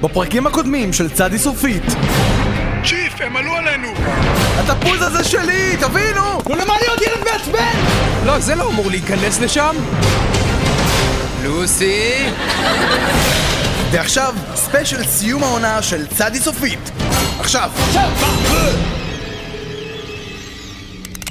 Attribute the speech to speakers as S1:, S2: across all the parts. S1: בפרקים הקודמים של צדי סופית.
S2: צ'יף, הם עלו עלינו!
S1: התפוז הזה שלי, תבינו!
S3: נו, למה להיות ילד מעצבן?
S1: לא, זה לא אמור להיכנס לשם.
S4: לוסי?
S1: ועכשיו, ספיישל סיום העונה של צדי סופית. עכשיו.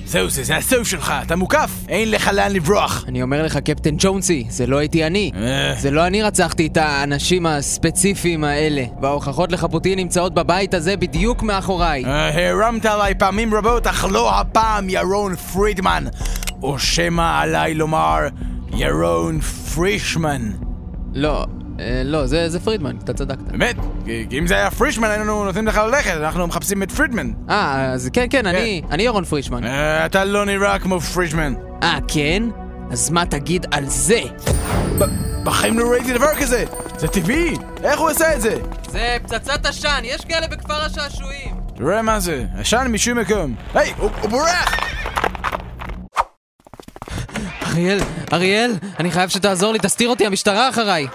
S1: זהו זה, זה הסוף שלך, אתה מוקף, אין לך לאן לברוח.
S3: אני אומר לך, קפטן ג'ונסי, זה לא הייתי אני. זה לא אני רצחתי את האנשים הספציפיים האלה. וההוכחות לחפותי נמצאות בבית הזה בדיוק מאחוריי.
S1: אה, הרמת עליי פעמים רבות, אך לא הפעם, ירון פרידמן. או שמא עליי לומר, ירון פרישמן.
S3: לא, אה, לא, זה זה פרידמן, אתה צדקת.
S1: באמת, כי- כי אם זה היה פרישמן היינו נותנים לך ללכת, אנחנו מחפשים את פרידמן.
S3: אה, אז כן, כן, אני אני ירון פרישמן.
S1: אה, אתה לא נראה כמו פרישמן.
S3: אה, כן? אז מה תגיד על זה?
S1: בחיים לא ראיתי דבר כזה! זה טבעי! איך הוא עשה את זה?
S3: זה פצצת עשן, יש כאלה בכפר השעשועים.
S1: תראה מה זה, עשן משום מקום. היי, הוא הוא בורח!
S3: אריאל, אריאל, אני חייב שתעזור לי, תסתיר אותי, המשטרה אחריי.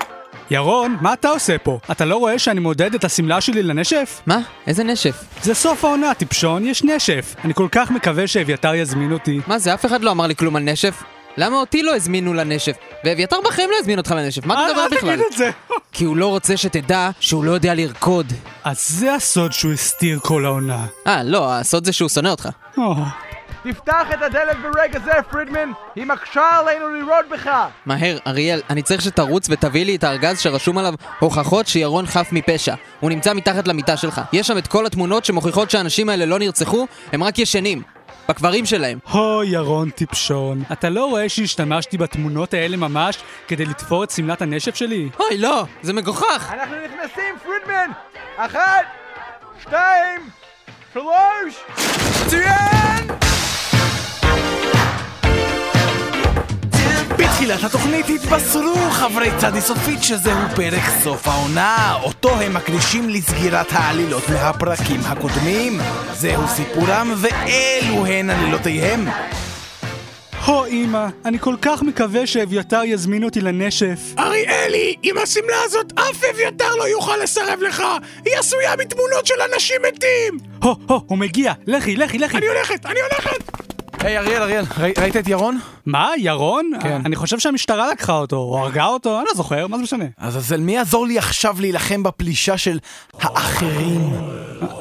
S5: ירון, מה אתה עושה פה? אתה לא רואה שאני מודד את השמלה שלי לנשף?
S3: מה? איזה נשף?
S5: זה סוף העונה, טיפשון, יש נשף. אני כל כך מקווה שאביתר יזמין אותי.
S3: מה זה, אף אחד לא אמר לי כלום על נשף? למה אותי לא הזמינו לנשף? ואביתר בחיים לא הזמין אותך לנשף, מה אתה מדבר
S5: אל
S3: בכלל?
S5: אה, תגיד את זה.
S3: כי הוא לא רוצה שתדע שהוא לא יודע לרקוד.
S5: אז זה הסוד שהוא הסתיר כל העונה.
S3: אה, לא, הסוד זה שהוא שונא אותך.
S5: או,
S6: תפתח את הדלת ברגע זה, פרידמן! היא מקשה עלינו לירות בך!
S3: מהר, אריאל, אני צריך שתרוץ ותביא לי את הארגז שרשום עליו הוכחות שירון חף מפשע. הוא נמצא מתחת למיטה שלך. יש שם את כל התמונות שמוכיחות שהאנשים האלה לא נרצחו, הם רק ישנים. בקברים שלהם.
S5: הו, ירון טיפשון. אתה לא רואה שהשתמשתי בתמונות האלה ממש כדי לתפור את שמלת הנשף שלי?
S3: אוי, לא, זה מגוחך!
S6: אנחנו נכנסים, פרידמן! אחת, שתיים, שלוש!
S1: בתחילת התוכנית התבשרו חברי צדי סופית שזהו פרק סוף העונה, אותו הם מקדישים לסגירת העלילות מהפרקים הקודמים. זהו סיפורם ואלו הן עלילותיהם.
S5: הו, אמא, אני כל כך מקווה שאביתר יזמין אותי לנשף.
S2: אריאלי, עם השמלה הזאת אף אביתר לא יוכל לסרב לך! היא עשויה מתמונות של אנשים מתים!
S5: הו, הו, הוא מגיע. לכי, לכי, לכי.
S2: אני הולכת, אני הולכת!
S1: היי, אריאל, אריאל, ראית את ירון?
S5: מה, ירון?
S1: כן.
S5: אני חושב שהמשטרה לקחה אותו, או הרגה אותו, אני לא זוכר, מה זה משנה?
S1: עזאזל, מי יעזור לי עכשיו להילחם בפלישה של האחרים?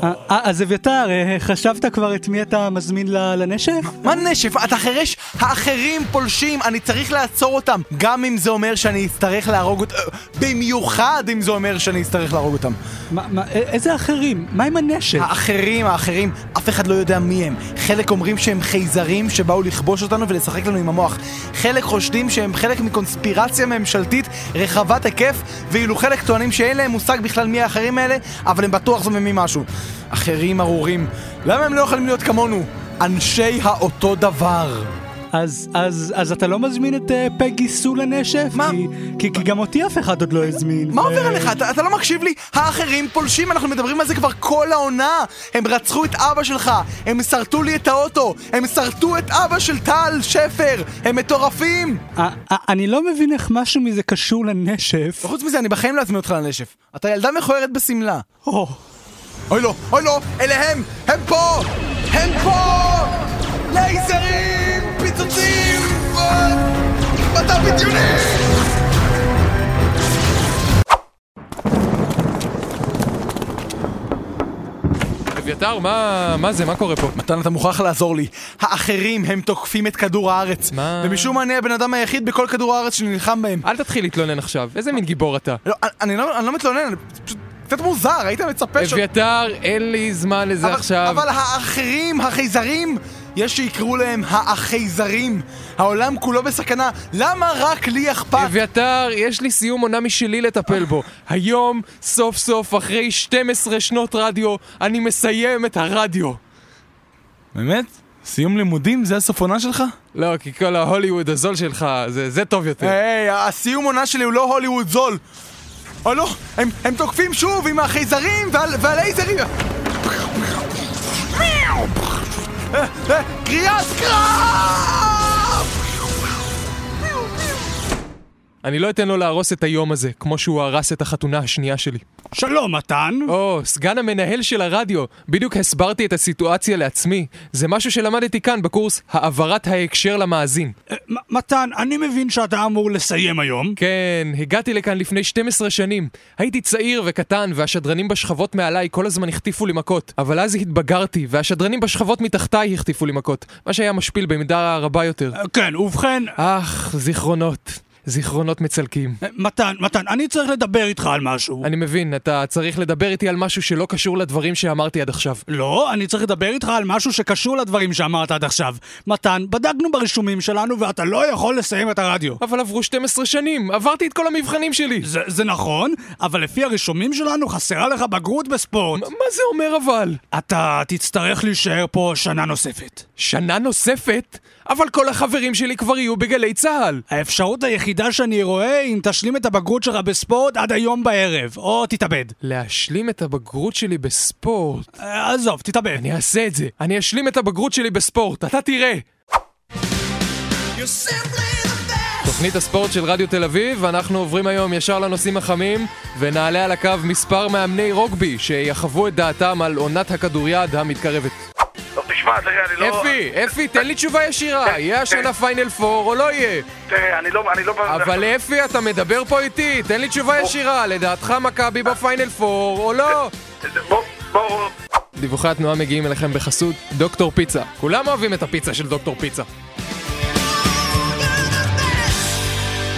S5: אה, אה, אז אביתר, אה, חשבת כבר את מי אתה מזמין ל- לנשף?
S1: מה נשף? אתה חירש? האחרים פולשים, אני צריך לעצור אותם. גם אם זה אומר שאני אצטרך להרוג אותם, אה, במיוחד אם זה אומר שאני אצטרך להרוג אותם.
S5: מה- מה- א- איזה אחרים? מה עם הנשף?
S1: האחרים, האחרים, אף אחד לא יודע מי הם. חלק אומרים שהם חייזרים שבאו לכבוש אותנו ולשחק לנו עם המוח. חלק חושדים שהם חלק מקונספירציה ממשלתית רחבת היקף, ואילו חלק טוענים שאין להם מושג בכלל מי האחרים האלה, אבל הם בטוח זוממים משהו. אחרים ארורים, למה הם לא יכולים להיות כמונו? אנשי האותו דבר.
S5: אז- אז אז אתה לא מזמין את אה, פגי סו לנשף?
S1: מה?
S5: כי- כי כי גם אותי אף אחד עוד לא הזמין.
S1: מה
S5: ו-
S1: עובר עליך? אתה, אתה לא מקשיב לי? האחרים פולשים, אנחנו מדברים על זה כבר כל העונה! הם רצחו את אבא שלך, הם שרטו לי את האוטו, הם שרטו את אבא של טל שפר, הם מטורפים!
S5: אה, אה, אני לא מבין איך משהו מזה קשור לנשף.
S1: וחוץ מזה, אני בחיים לא אזמין אותך לנשף. אתה ילדה מכוערת בשמלה.
S5: או,
S1: אוי לא, אוי לא, אלה הם! הם פה! הם פה! לייזרים! פיצוצים! מדע בדיוני!
S7: אביתר, מה, מה זה? מה קורה פה?
S1: מתן, אתה מוכרח לעזור לי. האחרים הם תוקפים את כדור הארץ.
S7: מה?
S1: ומשום מה אני הבן אדם היחיד בכל כדור הארץ שנלחם בהם.
S7: אל תתחיל להתלונן עכשיו, איזה מין גיבור אתה?
S1: לא, אני לא, אני לא מתלונן, אני פשוט קצת מוזר, היית מצפה ש...
S7: אביתר, אין לי זמן לזה
S1: אבל-
S7: עכשיו.
S1: אבל האחרים, החייזרים, יש שיקראו להם האחייזרים. העולם כולו בסכנה, למה רק לי אכפת?
S7: אביתר, יש לי סיום עונה משלי לטפל בו. היום, סוף סוף, אחרי 12 שנות רדיו, אני מסיים את הרדיו.
S1: באמת? סיום לימודים זה הסוף עונה שלך?
S7: לא, כי כל ההוליווד הזול שלך, זה, זה טוב יותר.
S1: היי, הסיום עונה שלי הוא לא הוליווד זול. או לא, הם, הם תוקפים שוב עם החייזרים והל- והלייזרים. אה, אה, קריאת קרב!
S7: אני לא אתן לו להרוס את היום הזה, כמו שהוא הרס את החתונה השנייה שלי.
S5: שלום, מתן.
S7: או, סגן המנהל של הרדיו, בדיוק הסברתי את הסיטואציה לעצמי. זה משהו שלמדתי כאן בקורס העברת ההקשר למאזין.
S5: אה, מ- מתן, אני מבין שאתה אמור לסיים היום.
S7: כן, הגעתי לכאן לפני 12 שנים. הייתי צעיר וקטן, והשדרנים בשכבות מעליי כל הזמן החטיפו לי מכות. אבל אז התבגרתי, והשדרנים בשכבות מתחתיי החטיפו לי מכות. מה שהיה משפיל במידה רבה יותר.
S5: אה, כן, ובכן,
S7: אך, זיכרונות. זיכרונות מצלקים.
S5: אה, מתן, מתן, אני צריך לדבר איתך על משהו.
S7: אני מבין, אתה צריך לדבר איתי על משהו שלא קשור לדברים שאמרתי עד עכשיו.
S5: לא, אני צריך לדבר איתך על משהו שקשור לדברים שאמרת עד עכשיו. מתן, בדקנו ברישומים שלנו ואתה לא יכול לסיים את הרדיו.
S7: אבל עברו 12 שנים, עברתי את כל המבחנים שלי.
S5: זה, זה נכון, אבל לפי הרישומים שלנו חסרה לך בגרות בספורט.
S7: מה זה אומר אבל?
S5: אתה תצטרך להישאר פה שנה נוספת.
S7: שנה נוספת? אבל כל החברים שלי כבר יהיו בגלי צה"ל.
S5: האפשרות היחידה שאני רואה אם תשלים את הבגרות שלך בספורט עד היום בערב, או תתאבד.
S7: להשלים את הבגרות שלי בספורט.
S5: אה, עזוב, תתאבד.
S7: אני אעשה את זה. אני אשלים את הבגרות שלי בספורט, אתה תראה. תוכנית הספורט של רדיו תל אביב, אנחנו עוברים היום ישר לנושאים החמים ונעלה על הקו מספר מאמני רוגבי שיחוו את דעתם על עונת הכדוריד המתקרבת.
S4: טוב, תשמע, תראה, אני לא...
S7: אפי, אפי, תן לי תשובה ישירה, יהיה השנה פיינל פור או לא יהיה?
S4: תראה, אני לא... אני לא...
S7: אבל אפי, אתה מדבר פה איתי, תן לי תשובה ישירה, לדעתך מכבי בפיינל פור או לא?
S4: בוא, בוא...
S7: דיווחי התנועה מגיעים אליכם בחסות דוקטור פיצה. כולם אוהבים את הפיצה של דוקטור פיצה.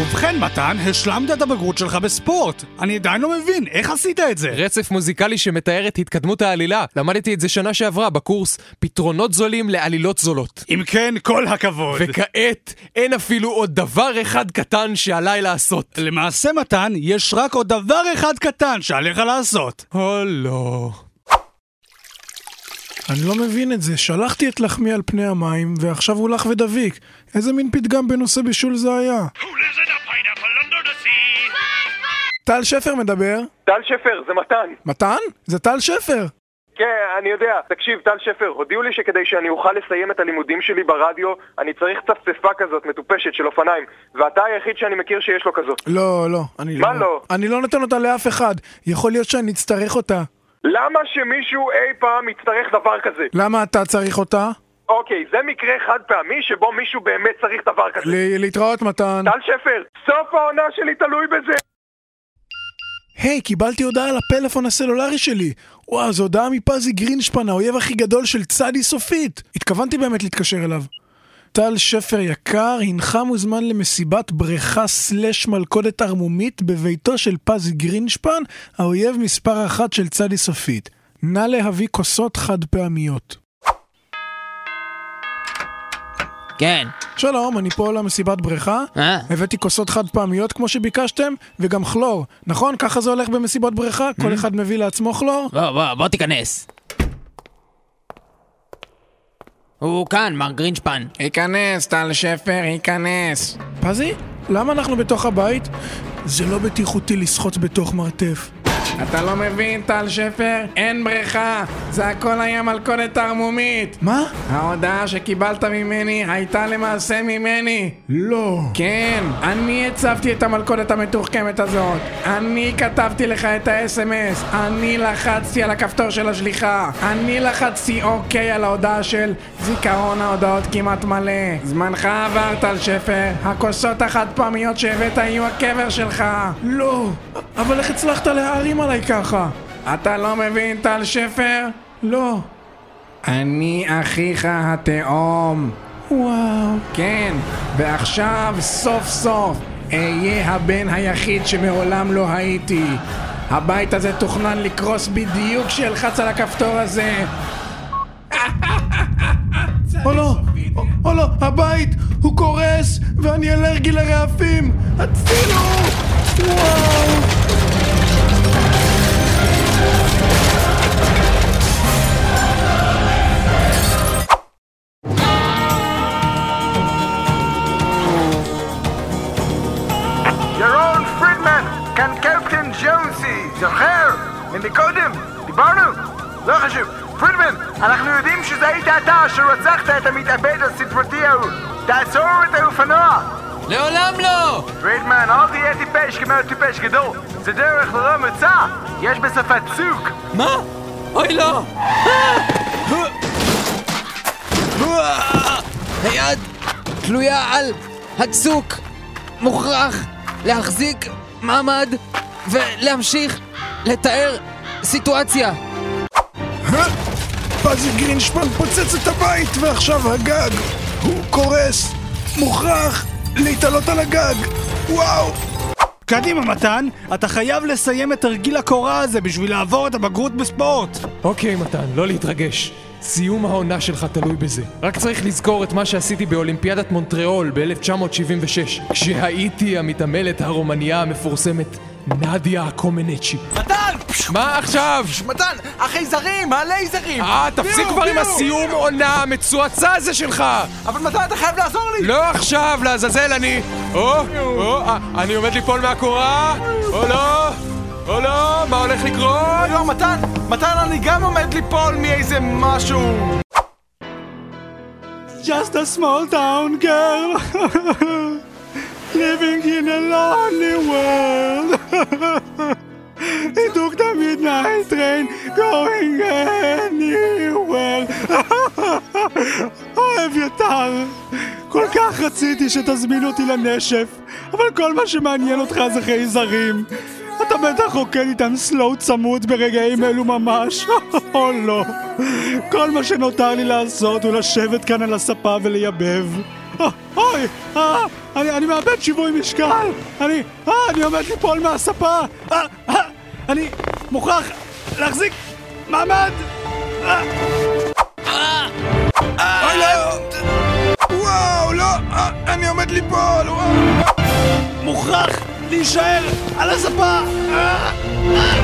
S5: ובכן, מתן, השלמת את הבגרות שלך בספורט. אני עדיין לא מבין, איך עשית את זה?
S7: רצף מוזיקלי שמתאר את התקדמות העלילה. למדתי את זה שנה שעברה בקורס פתרונות זולים לעלילות זולות.
S5: אם כן, כל הכבוד.
S7: וכעת אין אפילו עוד דבר אחד קטן שעליי לעשות.
S5: למעשה, מתן, יש רק עוד דבר אחד קטן שעליך לעשות.
S7: או לא.
S8: אני לא מבין את זה, שלחתי את לחמי על פני המים, ועכשיו הוא לך ודביק. איזה מין פתגם בנושא בישול זה היה? טל שפר מדבר.
S9: טל שפר, זה מתן.
S8: מתן? זה טל שפר.
S9: כן, אני יודע. תקשיב, טל שפר, הודיעו לי שכדי שאני אוכל לסיים את הלימודים שלי ברדיו, אני צריך צפצפה כזאת מטופשת של אופניים, ואתה היחיד שאני מכיר שיש לו כזאת.
S8: לא, לא, אני לא...
S9: מה לא?
S8: אני לא נותן אותה לאף אחד. יכול להיות שאני אצטרך אותה.
S9: למה שמישהו אי פעם יצטרך דבר כזה?
S8: למה אתה צריך אותה?
S9: אוקיי, זה מקרה חד פעמי שבו מישהו באמת צריך דבר כזה.
S8: ל- להתראות, מתן.
S9: טל שפר, סוף העונה שלי תלוי בזה!
S8: היי, קיבלתי הודעה על הפלאפון הסלולרי שלי. וואו, זו הודעה מפזי גרינשפן, האויב הכי גדול של צדי סופית. התכוונתי באמת להתקשר אליו. טל שפר יקר, הנך מוזמן למסיבת בריכה סלש מלכודת ערמומית בביתו של פזי גרינשפן, האויב מספר אחת של צדי סופית. נא להביא כוסות חד פעמיות.
S3: כן.
S8: שלום, אני פה למסיבת בריכה.
S3: אה.
S8: הבאתי כוסות חד פעמיות כמו שביקשתם, וגם כלור. נכון? ככה זה הולך במסיבות בריכה?
S7: Mm-hmm.
S8: כל אחד מביא לעצמו כלור?
S3: בוא, לא, בוא, בוא תיכנס. הוא כאן, מר גרינשפן.
S10: היכנס, טל שפר, היכנס.
S8: פזי, למה אנחנו בתוך הבית? זה לא בטיחותי לשחות בתוך מרתף.
S10: אתה לא מבין, טל שפר? אין בריכה. זה הכל היה מלכודת ערמומית.
S8: מה?
S10: ההודעה שקיבלת ממני הייתה למעשה ממני.
S8: לא.
S10: כן, אני הצבתי את המלכודת המתוחכמת הזאת. אני כתבתי לך את האס.אם.אס. אני לחצתי על הכפתור של השליחה. אני לחצתי אוקיי על ההודעה של זיכרון ההודעות כמעט מלא. זמנך עבר, טל שפר. הכוסות החד פעמיות שהבאת יהיו הקבר שלך.
S8: לא. אבל איך הצלחת להערים עליי ככה?
S10: אתה לא מבין, טל שפר?
S8: לא.
S10: אני אחיך התאום.
S8: וואו.
S10: כן, ועכשיו סוף סוף אהיה הבן היחיד שמעולם לא הייתי. הבית הזה תוכנן לקרוס בדיוק כשאלחץ על הכפתור הזה.
S8: או לא. או- או לא, הבית! הוא קורס! ואני אלרגי לרעפים! הצילו! וואו!
S6: ירון פרידמן, כאן קפטן ג'ונסי, זוכר? ממקודם, דיברנו? לא חשוב. פרידמן, אנחנו יודעים שזה היית אתה שרצחת את המתאבד הסדרתי ההוא. תעצור את האופנוע!
S3: לעולם לא!
S6: פרידמן, אל תהיה טיפש כמו טיפש גדול. זה דרך ללא מוצא. יש בשפה צוק.
S3: מה? אוי לא! היד תלויה על הצוק. מוכרח להחזיק מעמד ולהמשיך לתאר סיטואציה.
S5: פזי גרינשפן פוצץ את הבית, ועכשיו הגג. הוא קורס. מוכרח להתעלות על הגג. וואו!
S1: קדימה, מתן, אתה חייב לסיים את תרגיל הקורה הזה בשביל לעבור את הבגרות בספורט.
S7: אוקיי, מתן, לא להתרגש. סיום העונה שלך תלוי בזה. רק צריך לזכור את מה שעשיתי באולימפיאדת מונטריאול ב-1976, כשהייתי המתעמלת הרומניה המפורסמת נדיה הקומנצ'י.
S11: מתן!
S7: מה עכשיו?
S11: מתן, החייזרים, הלייזרים!
S7: אה, תפסיק
S11: ביו,
S7: כבר עם
S11: ביו.
S7: הסיום עונה המצועצע הזה שלך!
S11: אבל מתן, אתה חייב לעזור לי!
S7: לא עכשיו, לעזאזל, אני... או, או, אה, אני עומד ליפול מהקורה? או לא? או לא? מה הולך לקרות?
S11: לא, מתן, מתן, אני גם עומד ליפול מאיזה משהו!
S1: Just a small town girl living in a lonely world. It took the midnight train going anywhere. אוהב יתר, כל כך רציתי שתזמין אותי לנשף, אבל כל מה שמעניין אותך זה חייזרים. אתה בטח רוקד איתם סלואו צמוד ברגעים אלו ממש, או לא. כל מה שנותר לי לעשות הוא לשבת כאן על הספה ולייבב. אה, אוי, אה, אני, אני מאבד שיווי משקל! אני, אה, אני עומד ליפול מהספה! אה, אה, אני מוכרח להחזיק מעמד! אה.
S5: אה, אוי, לא! אה, וואו, לא! אה, אני עומד ליפול! וואו!
S1: מוכרח להישאר על הספה! אה, אה.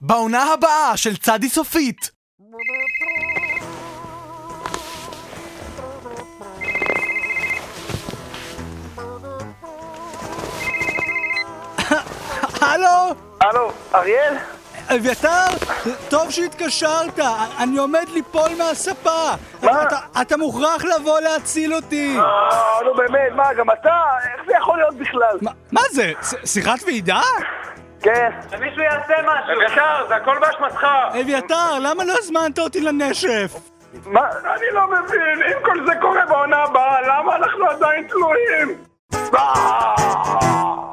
S11: בעונה הבאה של צדי סופית!
S1: הלו?
S9: הלו, אריאל?
S1: אביתר? טוב שהתקשרת, אני עומד ליפול מהספה! מה? אתה, אתה מוכרח לבוא להציל אותי!
S9: אה, נו באמת, מה, גם אתה? איך זה יכול להיות בכלל?
S1: מה זה? ש- שיחת ועידה?
S9: כן.
S12: שמישהו יעשה משהו. אביתר, זה הכל באשמתך.
S1: אביתר, למה לא הזמנת אותי לנשף?
S9: מה? אני לא מבין, אם כל זה קורה בעונה הבאה, למה אנחנו עדיין תלויים? אה!